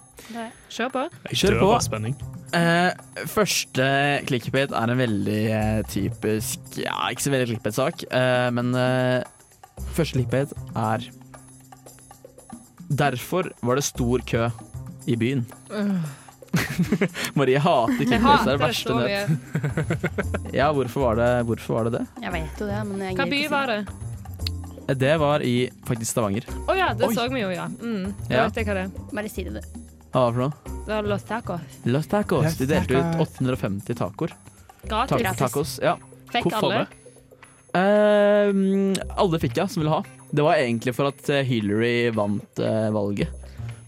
S4: Kjør på.
S3: Jeg
S2: Kjør
S3: dør
S2: på.
S3: av spenning.
S2: Eh, første clickbait er en veldig eh, typisk Ja, ikke så veldig clickbait-sak, eh, men eh, første clickbait er Derfor var det stor kø i byen. Marie hater
S4: Jeg
S2: kvinner, så det er det
S4: hater det
S2: verste
S4: så mye.
S2: nøtt. Ja, hvorfor var det hvorfor var det?
S1: Jeg vet jo det, men jeg
S4: Hva by var det?
S2: Det Det var i faktisk Stavanger.
S4: Å ja, det
S2: Oi.
S4: så vi jo, ja. Mm, da
S2: Ja.
S4: vet jeg hva det er.
S1: Bare si det, du.
S2: Hva var det for noe?
S4: Det var Los Tacos.
S2: Los tacos. De delte ut 850 tacoer.
S4: Gratis.
S2: Ta tacos, ja.
S4: Fikk
S2: Hvorfor
S4: alle.
S2: det? Eh, alle fikk ja, som ville ha. Det var egentlig for at eh, Hillary vant eh, valget.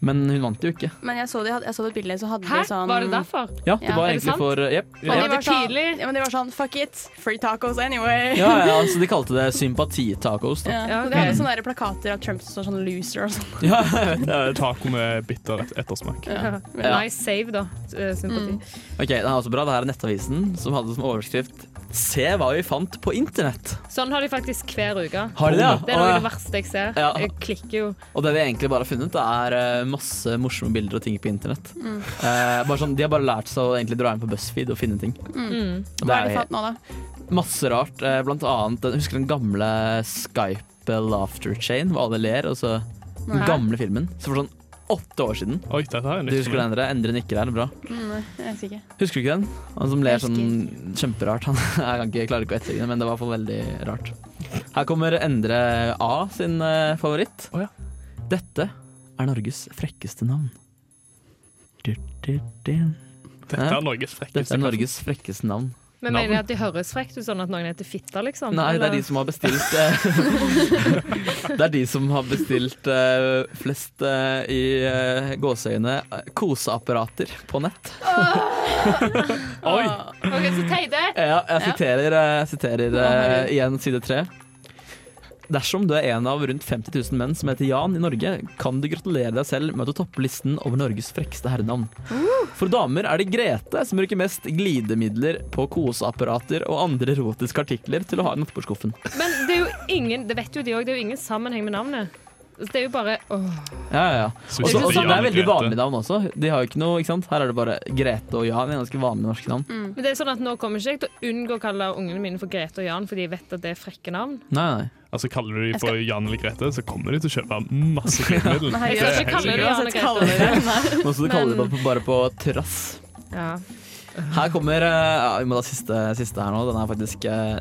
S2: Men hun vant jo ikke.
S1: Men jeg så, de, hadde- jeg så det bildet, så hadde
S4: Hæ?
S1: de sånn
S4: Var det derfor?
S2: Ja, det
S1: Ja.
S2: var
S4: Er det
S2: egentlig
S4: sant?
S2: for eh, Jepp.
S1: Men
S4: Ja,
S1: de
S4: det
S1: var
S4: er
S1: sånn,
S4: tidlig.
S1: ja, men de var sånn fuck it, free tacos anyway.
S2: Ja, ja, altså de kalte det sympatitacos. da.
S1: Ja.
S4: Ja,
S1: Så de hadde sånne der plakater av Trump som står sånn loser og sånn.
S2: Ja, jeg vet det.
S3: Eh, Taco med bitter et- ettersmak.
S2: Ja.
S4: Nice save, da. eh, Sympati.
S2: Ok, den er også bra. Det her er Nettavisen, som hadde som overskrift 'Se hva vi fant på internett'.
S4: Sånn har de faktisk hver uke.
S2: Har de det? ja?
S4: Det er
S2: Å,
S4: noe av
S2: ja.
S4: det verste jeg ser.
S2: Ja.
S4: Jeg klikker jo.
S2: Og det vi egentlig bare har funnet, det er eh, masse morsomme bilder og ting på internett.
S4: Mm.
S2: Eh, bare sånn, de har bare lært seg å egentlig dra inn på BuzzFeed og finne ting.
S4: Mm.
S1: Hva er det for nå, da?
S2: Masse rart. eh, Blant annet den, Husker du den gamle Skype Laughter Chain, hvor alle ler? Og så den
S4: Nei.
S2: gamle filmen. Så for sånn åtte år siden.
S3: Oi, dette her er
S2: Du husker
S3: nytt.
S2: den, Endre? Endre nikker her. Bra.
S1: Mm, Jeg vet ikke.
S2: Husker du ikke den? Han som ler sånn kjemperart. Han, jeg kan ikke, jeg klarer ikke å etterlegge det, men det var i hvert fall veldig rart. Her kommer Endre A sin eh, favoritt.
S3: Å, ja.
S2: Dette er Norges frekkeste navn. Du, du, du.
S3: Dette er Norges frekkeste
S2: Dette er Norges frekkeste navn.
S4: Men mener de at de høres frekt ut, sånn at noen heter fitta, liksom?
S2: Nei, det er de som har bestilt eh, Det er de som har bestilt eh, flest eh, i eh, gåseøyne eh, koseapparater på nett.
S3: Oi!
S4: OK, så teite!
S2: Ja, jeg siterer, eh, jeg siterer eh, igjen side tre. Dersom du er en av rundt 50 000 menn som heter Jan i Norge, kan du gratulere deg selv med at du topper listen over Norges frekkeste herrenavn. For damer er det Grete som bruker mest glidemidler på koseapparater og andre erotiske artikler til å ha i nattbordskuffen.
S4: Men det er jo ingen Det vet jo de òg, det er jo ingen sammenheng med navnet. Det er jo bare åh.
S2: Ja, ja, ja.
S3: Så
S2: Også,
S3: ikke
S2: også, det
S3: Jan
S2: er veldig
S3: Grete.
S2: vanlige navn også. De har jo ikke noe, ikke sant? Her er det bare Grete og Jan. det er Ganske vanlige norske
S1: mm.
S2: navn.
S4: Men det er sånn at nå kommer ikke jeg til å unngå å kalle ungene mine for Grete og Jan, fordi jeg vet at det er frekke navn.
S2: Nei, nei.
S3: Altså, kaller du de for Jan eller Grete, så kommer de til å kjøpe masse glidemiddel.
S1: Nei,
S4: Jeg
S1: det
S4: skal
S1: er
S4: ikke kalle
S1: helt
S4: det Jan og
S1: sikkert.
S4: Grete.
S2: Nå skal du kalle det bare- bare på trass.
S4: Ja.
S2: Her kommer eh, ja, Vi må ta siste, siste her nå. Den er faktisk eh,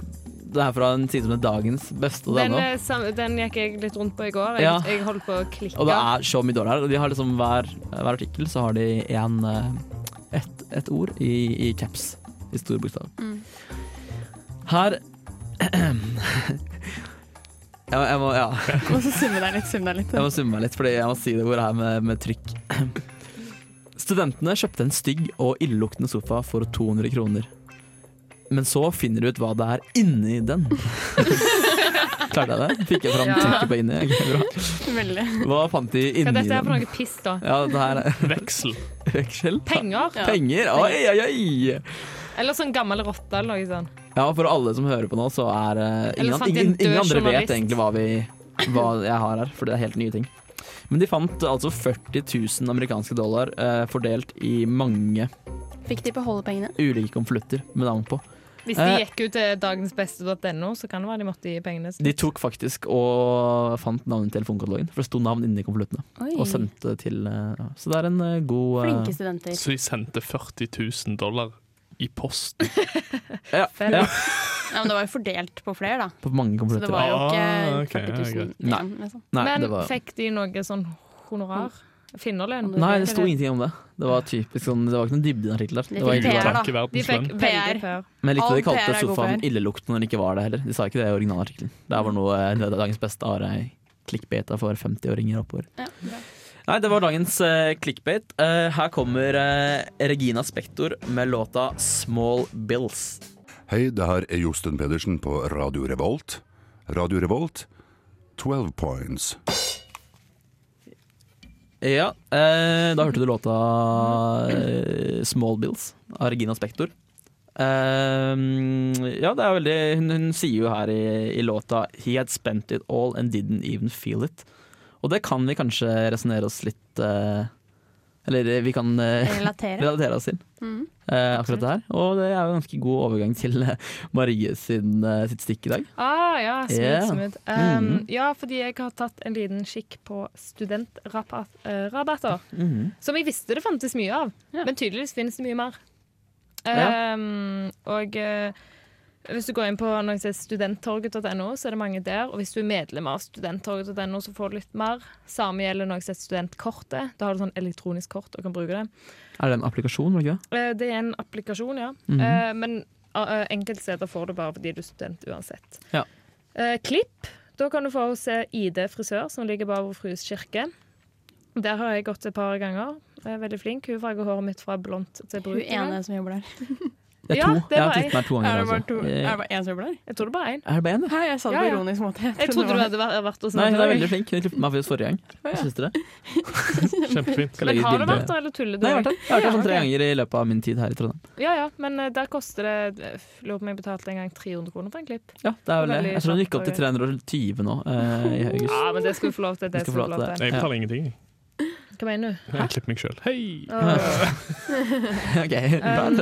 S2: Den er fra en side som er dagens beste.
S4: Den,
S2: denne.
S4: eh, sam den gikk jeg litt rundt på i går. Jeg,
S2: Ja.
S4: jeg holdt på å klikke.
S2: Og det er så mye dårlig her. og De har liksom hver, hver artikkel så har de en, eh, ett et ord i, i caps. I store bokstav.
S1: Mm.
S2: Her jeg, jeg må, ja.
S1: Og så summer deg litt, summer deg litt.
S2: Jeg må summe meg litt, fordi jeg må si det ordet her med, med trykk. Studentene kjøpte en stygg og illeluktende sofa for 200 kroner. Men så finner du ut hva det er inni den. Klarte jeg det? Fikk jeg fram
S4: Ja.
S2: trykket på inni? Ok, bra.
S1: Veldig.
S2: Hva fant de
S4: Hva
S2: inni
S4: dette er for
S2: den?
S4: noe piss, da?
S2: Ja, det her er
S3: Veksel.
S2: veksel.
S4: Penger?
S1: Ja.
S2: Penger? Oi, oi, oi!
S4: Eller sånn gammel rotte eller noe sånt.
S2: Ja, for alle som hører på nå, så er eh,
S4: Eller
S2: ingen,
S4: fant de en
S2: ingen,
S4: død
S2: ingen andre
S4: journalist?
S2: vet egentlig hva, vi, hva jeg har her, for det er helt nye ting. Men de fant altså 40 000 amerikanske dollar eh, fordelt i mange
S1: Fikk de beholde pengene?
S2: ulike konvolutter med navn på.
S4: Hvis de
S2: Eh.
S4: gikk ut til dagensbeste.no, så kan det være de måtte gi pengene.
S2: De tok faktisk og fant navnet i telefonkatalogen, for det sto navn inni konvoluttene.
S1: Oi.
S2: Og sendte det til eh, ja. Så det er en eh, god eh,
S1: Flinke studenter.
S3: Så de sendte 40 000 dollar i posten.
S2: ja,
S4: Fett.
S2: ja,
S1: Ja, men det var jo fordelt på flere, da.
S2: på mange
S1: Så det
S2: konvolutter.
S1: var jo
S3: Ah, ok,
S1: ikke
S3: ja,
S1: 40 000
S3: greit.
S2: Nei.
S1: igjen, liksom.
S2: Nei,
S4: Men
S2: det var,
S4: fikk de noe sånn honorar? Finnerlønn?
S2: nei, det sto ingenting om det. Det var typisk sånn, det var ikke noen dybde i den artikkelen.
S1: Det
S2: Det var
S1: fikk
S2: egentlig
S1: PR,
S2: bare-
S1: da.
S3: Takk i
S4: De
S3: verdens
S4: fikk
S3: lønn.
S4: veldig
S1: PR.
S4: PR.
S2: Men jeg likte at de
S1: All PR
S2: kalte
S1: er god
S2: sofaen
S1: PR.
S2: illeluktende når den ikke var det heller. De sa ikke det i originalartikkelen. Der var noe eh, dagens beste are clickbeta for 50-åringer oppover.
S1: Ja,
S2: Nei, det var dagens eh, clickbait. Eh, her kommer eh, Regina Spektor med låta 'Small Bills'.
S7: Hei, det her er Josten Pedersen på Radio Revolt. Radio Revolt, 12 points.
S2: Ja, eh, da hørte du låta eh, 'Small Bills' av Regina Spektor. Eh, ja, det er veldig hun, hun sier jo her i, i låta 'He had spent it all and didn't even feel it'. Og det kan vi kanskje resonnere oss litt eh, Eller vi kan eh,
S1: Relatere.
S2: relatere oss til eh, akkurat det her. Og det er jo en ganske god overgang til eh, Marie sin, eh, sitt stikk i dag.
S4: Ah, da, ja. Smooth,
S2: Ja. Mhm.
S4: smooth. Um, Ja, fordi jeg har tatt en liten kikk på studentrabatter. Som jeg visste det fantes mye av, men tydeligvis finnes det mye mer.
S2: Ja.
S4: Um, og eh, hvis du går inn på noe som heter studenttorget.no, så er det mange der. Og hvis du er medlem av studenttorget.no, så får du litt mer. Samme gjelder noe som heter studentkortet. Da har du sånn elektronisk kort og kan bruke det.
S2: Er det en applikasjon? var det ikke det?
S4: Eh, Det er en applikasjon, ja.
S2: Mhm.
S4: Eh, Men eh, enkelte steder får du bare fordi du er student uansett.
S2: Ja.
S4: Eh, klipp. Da kan du få hos eh, ID frisør, som ligger bare ved Frues kirke. Der har jeg gått et par ganger. Jeg er veldig flink. Hun farger håret mitt fra blondt til
S1: Hun
S4: brunt. en gang.
S1: ene som jobber der.
S2: Det er
S4: Ja,
S2: to.
S4: det
S2: jeg har
S4: var
S2: klippet meg to ganger.
S1: Er det bare
S2: altså.
S1: to?
S2: Eh,
S1: Er det bare én som jobber der?
S4: Jeg tror det bare er én.
S2: Er det bare én? ja?
S1: Hæ, jeg sa det
S4: Ja,
S1: på
S4: ja.
S1: ironisk måte.
S4: Jeg trodde du hadde væ- vært hos
S2: Nei, det er
S4: noen andre.
S2: veldig flink. Hun klippet meg faktisk forrige gang. Hva syns dere?
S3: Kjempefint.
S2: Skal
S4: Men
S2: legge ut
S4: har du
S2: bilde.
S4: vært der, eller tuller du?
S2: Nei, jeg har vært der. Jeg har vært der sånn tre ganger i løpet av min tid her i Trondheim.
S4: Ja, ja, men eh, der koster det eh, Lurer på om jeg betalte en gang 300 kroner for en klipp.
S2: Ja, det er vel det.
S4: Veldig
S2: Jeg tror hun gikk opp til
S4: sant,
S2: 320 nå eh, i august.
S4: Ja, men det skal vi få lov til. Det
S2: skal
S4: skal
S2: få
S4: vi få
S2: lov til
S4: lov til.
S3: Jeg betaler ingenting.
S4: Hva mener du?
S3: Jeg klipper meg sjøl. Hei!
S4: Åh.
S2: Ok, bra.
S4: Um,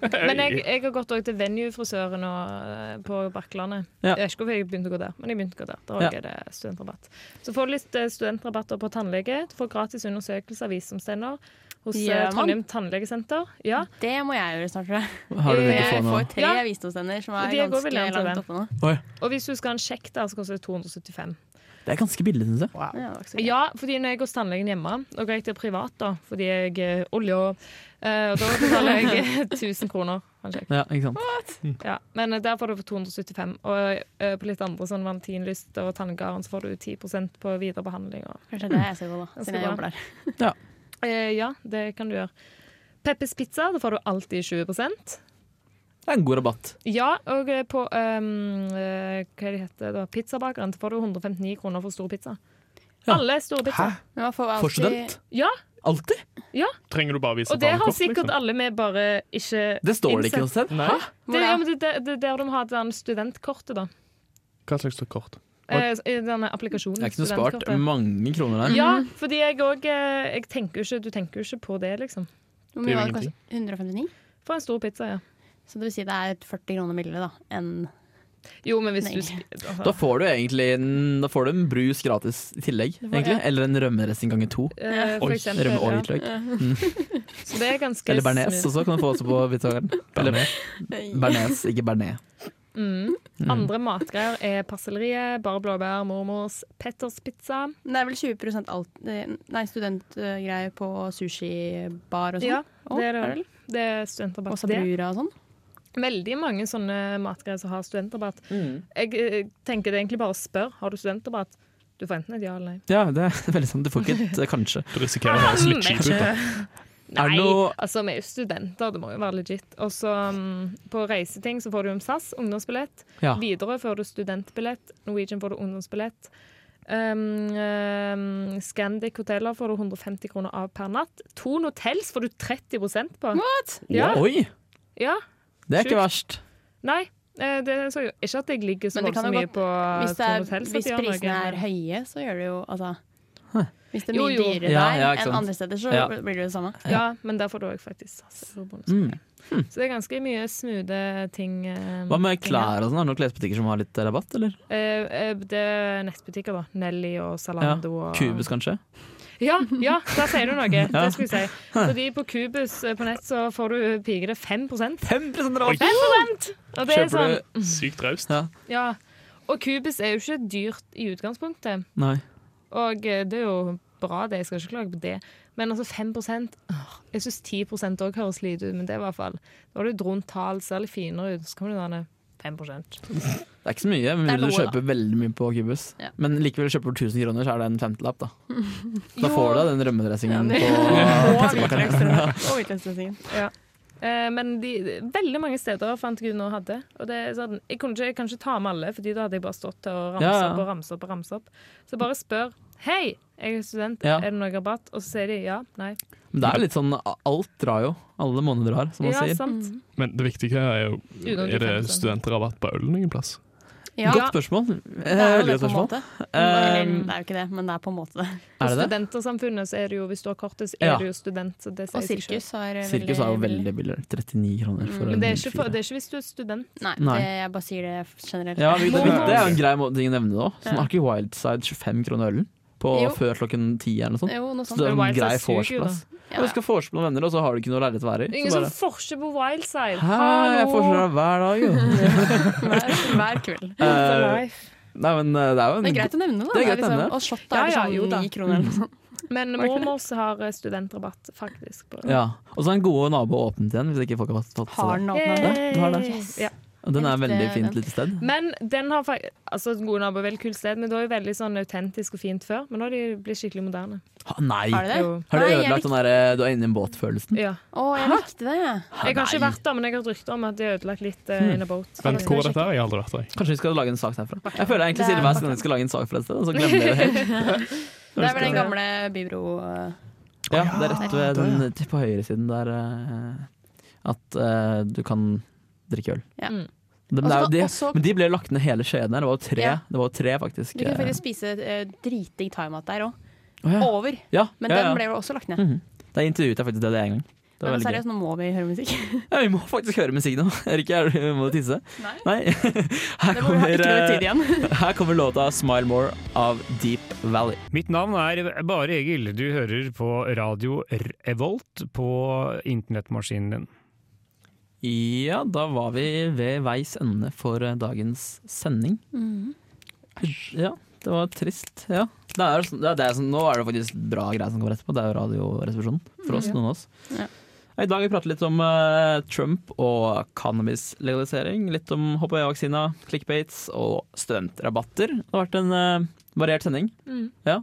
S4: men jeg, jeg har gått også til venue-frisøren og, eh, på Bakklandet.
S2: Ja.
S4: Jeg vet ikke hvorfor jeg begynte å gå der, men jeg begynte å gå der. Der
S2: Ja.
S4: også er det studentrabatt. Så får du litt eh, studentrabatter på tannlege. Du får gratis undersøkelse av visdomstenner hos eh,
S1: Gjør man?
S4: Trondheim tannlegesenter. Ja.
S1: Det må jeg gjøre snart, tror jeg.
S2: Har du tenkt å få
S1: Jeg
S2: noe?
S1: får tre
S4: Ja.
S1: visdomstenner som er
S4: De går vel
S1: ganske
S4: igjen til den.
S1: langt oppe nå.
S4: Og hvis du skal ha en sjekk der, så koster det 275.
S2: Det er ganske billig, syns jeg.
S1: Ja, det var ikke så gøy.
S4: Ja, fordi når jeg går hos tannlegen hjemme, og går jeg til privat da, fordi jeg er olje, eh, og da betaler jeg 1000 kroner. kanskje.
S2: Ja, ikke sant?
S4: Ja, men eh, der får du for 275, og eh, på litt andre sånn valentinlyster og tanngarn så får du 10 på videre behandling. Og,
S1: Kanskje det er jeg skal gå, da. Siden jeg
S4: bra.
S1: jobber der.
S4: Eh, ja, det kan du gjøre. Peppes pizza, da får du alltid 20
S2: Det er en god rabatt.
S4: Ja, og eh, på um, hva er det heter da, pizzabakeren så får du 159 kroner for stor pizza.
S2: Ja.
S4: Alle store pizzaer.
S1: Men man får
S2: For
S1: alltid
S2: student?
S4: Ja,
S2: Alltid?
S3: Trenger du bare vise
S4: og det har
S3: barnekort,
S4: sikkert
S3: liksom?
S4: alle med bare ikke
S2: Det står det ikke
S4: innsett.
S2: noe sted.
S3: Nei?
S1: Hvor
S4: Det,
S1: da?
S4: ja, men det, det, det er der de har den studentkortet, da.
S3: Hva slags kort?
S4: Eh, i denne applikasjonen. eh.
S2: Jeg har ikke noe spart
S4: studentkortet.
S2: mange kroner der.
S4: Ja,
S1: Mhm.
S4: fordi jeg òg Jeg tenker jo ikke Du tenker jo ikke på det, liksom.
S1: Hvor
S3: Det
S1: mye
S3: er jo
S1: var det? Kanskje 159?
S4: For en stor pizza, ja.
S1: Så det vil si det er 40 kroner billigere da, enn
S4: Jo, men hvis
S1: Nei.
S4: du spiser
S2: Da får du egentlig en, da får du en brus gratis i tillegg, egentlig. Eller en rømmeressing ganger to.
S4: Eh, For eksempel.
S2: Rømme og
S4: Ja.
S2: hvitløk.
S4: Så det er ganske
S2: Eller bearnés
S4: smooth.
S2: også, kan du få også på hvitløkeren. Eller bearnés, ikke bearnés.
S4: Mm. Andre matgreier er parselleriet, bare blåbær, mormors, Petters pizza.
S1: Men Det er vel 20 alt, eh, nei, studentgreier på sushibar og sånn.
S4: Ja, det er det
S1: er
S4: vel. Det er studentrabatt.
S1: Og
S4: Det er
S1: sabrura og sånn.
S4: Veldig mange sånne matgreier som har studentrabatt. Jeg eh, tenker det er egentlig bare å spørre har du studentrabatt. Du får enten et ja eller nei.
S2: Ja, det er veldig sant. Du får ikke et eh, kanskje.
S3: Du risikerer å høres litt kjip ut. da.
S4: Nei,
S2: Er det noe-
S4: altså vi er jo studenter, det må jo være legit. Og så um, på reiseting så får du om SAS, ungdomsbillett.
S2: Ja.
S4: Widerøe får du studentbillett. Norwegian får du ungdomsbillett. Um, um, Scandic hoteller får du 150 kroner av per natt. Thon hotels får du 30 på. Ja.
S2: Oi!
S4: Ja.
S2: Det er ikke
S4: Sjukt.
S2: verst.
S4: Nei. eh, Det så jo ikke at jeg ligger så
S1: Men det kan
S4: voldsomt
S1: jo
S4: mye
S1: godt-
S4: på
S1: Hvis, det
S4: Thon
S1: er,
S4: hotels.
S1: hvis
S4: at de har
S1: prisene
S4: noe.
S1: er høye, så gjør det jo altså Hvis det er
S4: Jo,
S1: mye
S4: jo.
S1: dyrere
S2: Ja,
S1: der
S2: ja, ikke
S1: enn
S2: sant.
S1: andre steder, så
S2: Ja.
S1: blir det jo det samme.
S4: Ja, men der får du òg faktisk SAS. og bonus.
S2: Mm.
S4: Så det er ganske mye smoothe ting. eh,
S2: Hva med
S4: ting her.
S2: klær og sånn? Er det noen klesbutikker som har litt eh, rabatt, eller?
S4: Eh, eh, det er nettbutikker, da. Nelly og Zalando. og-
S2: Cubus, kanskje?
S4: Ja, ja, der sier du noe. Det skulle jeg si. Fordi på Cubus eh, på nett så får du piker det 5 5
S2: 5 rabatt!
S4: Og det er
S2: Kjøper
S4: sånn,
S2: du
S3: Sykt raust.
S2: Ja.
S4: ja. Og Cubus er jo ikke dyrt i utgangspunktet.
S2: Nei.
S4: Og eh, det er jo bra, det. Jeg skal ikke klage på det. Men altså 5 åh, Jeg syns 10 òg høres lite ut, men det er i hvert fall Da har du et rundt tall, ser litt finere ut. Så kommer du denne 5
S2: Det er ikke så mye,
S1: Det er
S2: men du
S1: noe,
S2: kjøper veldig mye på Cubus.
S1: Ja.
S2: Men likevel kjøper du 1000 kroner, så er det en femtelapp, da. Da får du den rømmedressingen
S1: det-
S2: på
S1: Og hvitløksdressingen.
S4: Eh, men de, de, veldig mange steder fant jeg ut nå hadde. Og det, er sånn, jeg, kunne ikke, jeg kan ikke ta med alle, Fordi da hadde jeg bare stått til å ramse
S2: Ja, ja.
S4: opp og ramse opp. og ramse opp Så bare spør. Hei, jeg er student,
S2: Ja.
S4: er det noe rabatt? Og så sier de ja. Nei.
S2: Men det er jo litt sånn Alt drar jo. Alle måneder drar, som man
S4: Ja,
S2: sier.
S4: sant.
S3: Men det viktige her er jo
S4: Utenom de
S3: Er det
S4: 5%.
S3: studentrabatt på øl noen plass?
S1: Ja,
S2: Godt spørsmål. Eh,
S1: det er jo
S2: Veldig godt
S1: det på en
S2: spørsmål.
S1: måte.
S2: Eh,
S1: Eller, det er jo ikke det, men det er på en måte det.
S2: er
S4: Og
S2: det det?
S4: Studentersamfunnet, så er det jo, hvis du har kortet, så er
S2: Ja.
S4: du jo student. Så det sier
S1: Og
S4: seg selv.
S1: sirkus er veldig
S2: Sirkus er jo veldig billig. 39 kroner for
S1: Mm.
S2: en
S4: Men det er, ikke for,
S2: fire.
S4: det er ikke hvis du er student.
S1: Nei,
S2: Nei.
S1: Det, jeg bare sier det generelt.
S2: Ja, vi, det,
S4: Må-
S2: det er jo en grei måte å nevne det òg. Sånn,
S1: Ja.
S2: har ikke Wildside 25 kroner ølen på
S1: Jo.
S2: før klokken 10 eller noe sånt?
S1: Jo, sånn noe
S2: Så
S1: sånt.
S2: det er en
S4: Wildside
S2: grei
S4: suger jo, da.
S2: vorsplass.
S1: Ja,
S2: Og Du skal vorspiel med venner, og så har du ikke noe leilighet å være i. Så
S4: Ingen som
S2: bare
S4: forsker på Wildside.
S2: Hæ, jeg får
S4: Hallo!
S2: deg hver dag, jo.
S1: Hver, hver kveld.
S4: What the
S2: Eh,
S4: life.
S2: nei, men eh, det er jo en
S1: Det er greit å nevne, da.
S2: Det er greit å
S1: liksom-
S2: nevne.
S1: Og shot er
S4: Ja, ja, jo
S1: sånn
S4: da.
S1: ni kroner eller noe sånt.
S4: Men
S1: Var ikke det?
S4: mormors har eh, studentrabatt, faktisk. På.
S2: Ja. Og så er den gode nabo åpent igjen, hvis ikke folk har tatt
S1: Har
S2: seg det.
S1: den åpna
S4: Yay.
S1: den?
S2: du har det.
S4: Ja.
S2: Og den er
S1: Jeg likte
S2: veldig fint
S1: den.
S2: lite sted.
S4: Men den har faktisk Altså, Gode nabo er vel et kult sted, men det var jo veldig sånn autentisk og fint før. Men nå har de blitt skikkelig moderne.
S2: Ha, nei!
S1: Har det det?
S4: Jo.
S2: Har du
S1: Nei, jeg
S2: ødelagt den
S1: likte-
S2: derre du er inne i en båt-følelsen?
S4: Ja.
S1: Å, jeg likte det.
S4: Jeg har ikke
S2: Mm. Nei.
S4: vært der, men jeg har hørt rykter om at de har ødelagt litt eh, in a boat.
S3: Vent, hvor er dette? her? Jeg har aldri vært der. jeg.
S2: Kanskje vi skal lage en sak derfra. Jeg føler egentlig
S1: Det er
S2: Silje hver sending skal lage en sak fra et sted, og så glemmer jeg det helt.
S1: Det er vel den
S4: det.
S1: gamle bybro... eh,
S2: Ja, det er rett ved den til på høyresiden der eh, at eh, du kan drikke øl.
S1: Ja.
S4: Mm.
S2: Men, det er jo
S1: Og så-
S2: de,
S1: og så-
S2: men de ble lagt ned hele skjeden her. Det var jo tre,
S1: Ja.
S2: det var jo tre faktisk.
S1: Du kan
S2: eh,
S1: faktisk spise eh, dritdigg thaimat der òg.
S2: å ja.
S1: Over.
S2: Ja,
S1: Men
S2: ja, ja.
S1: den ble jo også lagt ned.
S2: Mhm. Da intervjuet jeg faktisk Dede en gang. Det var
S1: Men
S2: veldig gøy.
S1: seriøst, nå må vi høre musikk.
S2: Ja, vi må faktisk høre musikk nå. Erik, er du må du tisse?
S1: Nei.
S2: Her
S1: Det må vi
S2: kommer,
S1: ha ikke noe tid
S2: eh,
S1: igjen.
S2: her kommer låta 'Smile More' av Deep Valley.
S8: Mitt navn er Bare Egil. Du hører på radio Revolt på internettmaskinen din.
S2: Ja, da var vi ved veis ende for eh, dagens sending.
S1: Mm.
S2: Ja, det var trist. Ja. Det er, jo sånn- det er, det er, sånn- nå er det faktisk bra greier som kommer etterpå. Det er jo Radioresepsjonen for oss, noen av oss.
S1: Ja.
S2: I dag har vi pratet litt om eh, Trump og cannabislegalisering. Litt om HPV-vaksina, clickbaits og studentrabatter. Det har vært en eh, variert sending.
S4: Mm.
S2: Ja,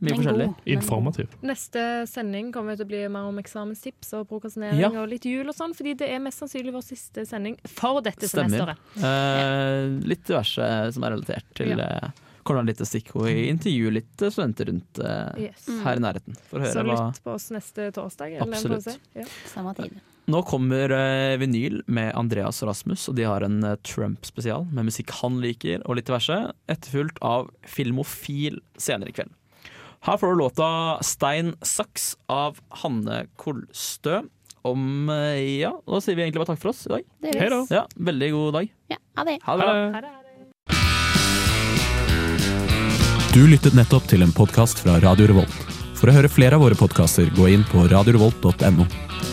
S2: mye
S1: Men
S2: forskjellig.
S1: god, men
S3: Informativ.
S4: Neste sending kommer til å bli mer om eksamenstips og prokrastinering
S2: Ja.
S4: og litt jul og sånn, fordi det er mest sannsynlig vår siste sending for dette
S2: Stemmer.
S4: semesteret.
S2: Eh, litt diverse som er relatert til eh,
S4: Ja.
S2: ja. koronalitistikk, og vi intervjuer litt eh, studenter rundt eh,
S4: Yes.
S2: her i nærheten. For å høre
S4: Mm. Så
S2: hva
S4: lytt på oss neste torsdag. Eller en
S2: Absolutt.
S4: pause. Ja.
S1: Samme tid.
S2: Nå kommer eh, vinyl med Andreas og Rasmus, og de har en eh, Trump-spesial med musikk han liker og litt diverse, etterfulgt av Filmofil senere i kveld. Her får du låta 'Stein Saks' av Hanne Kolstø. Om eh, ja, da sier vi egentlig bare takk for oss i dag.
S1: Det
S3: Hei da.
S2: Ja, Veldig god dag.
S1: Ja, ha det.
S2: Ha det bra.
S4: Ha det, ha det.
S9: Du lyttet nettopp til en podkast fra Radio Revolt. For å høre flere av våre podkaster, gå inn på radiorevolt.no.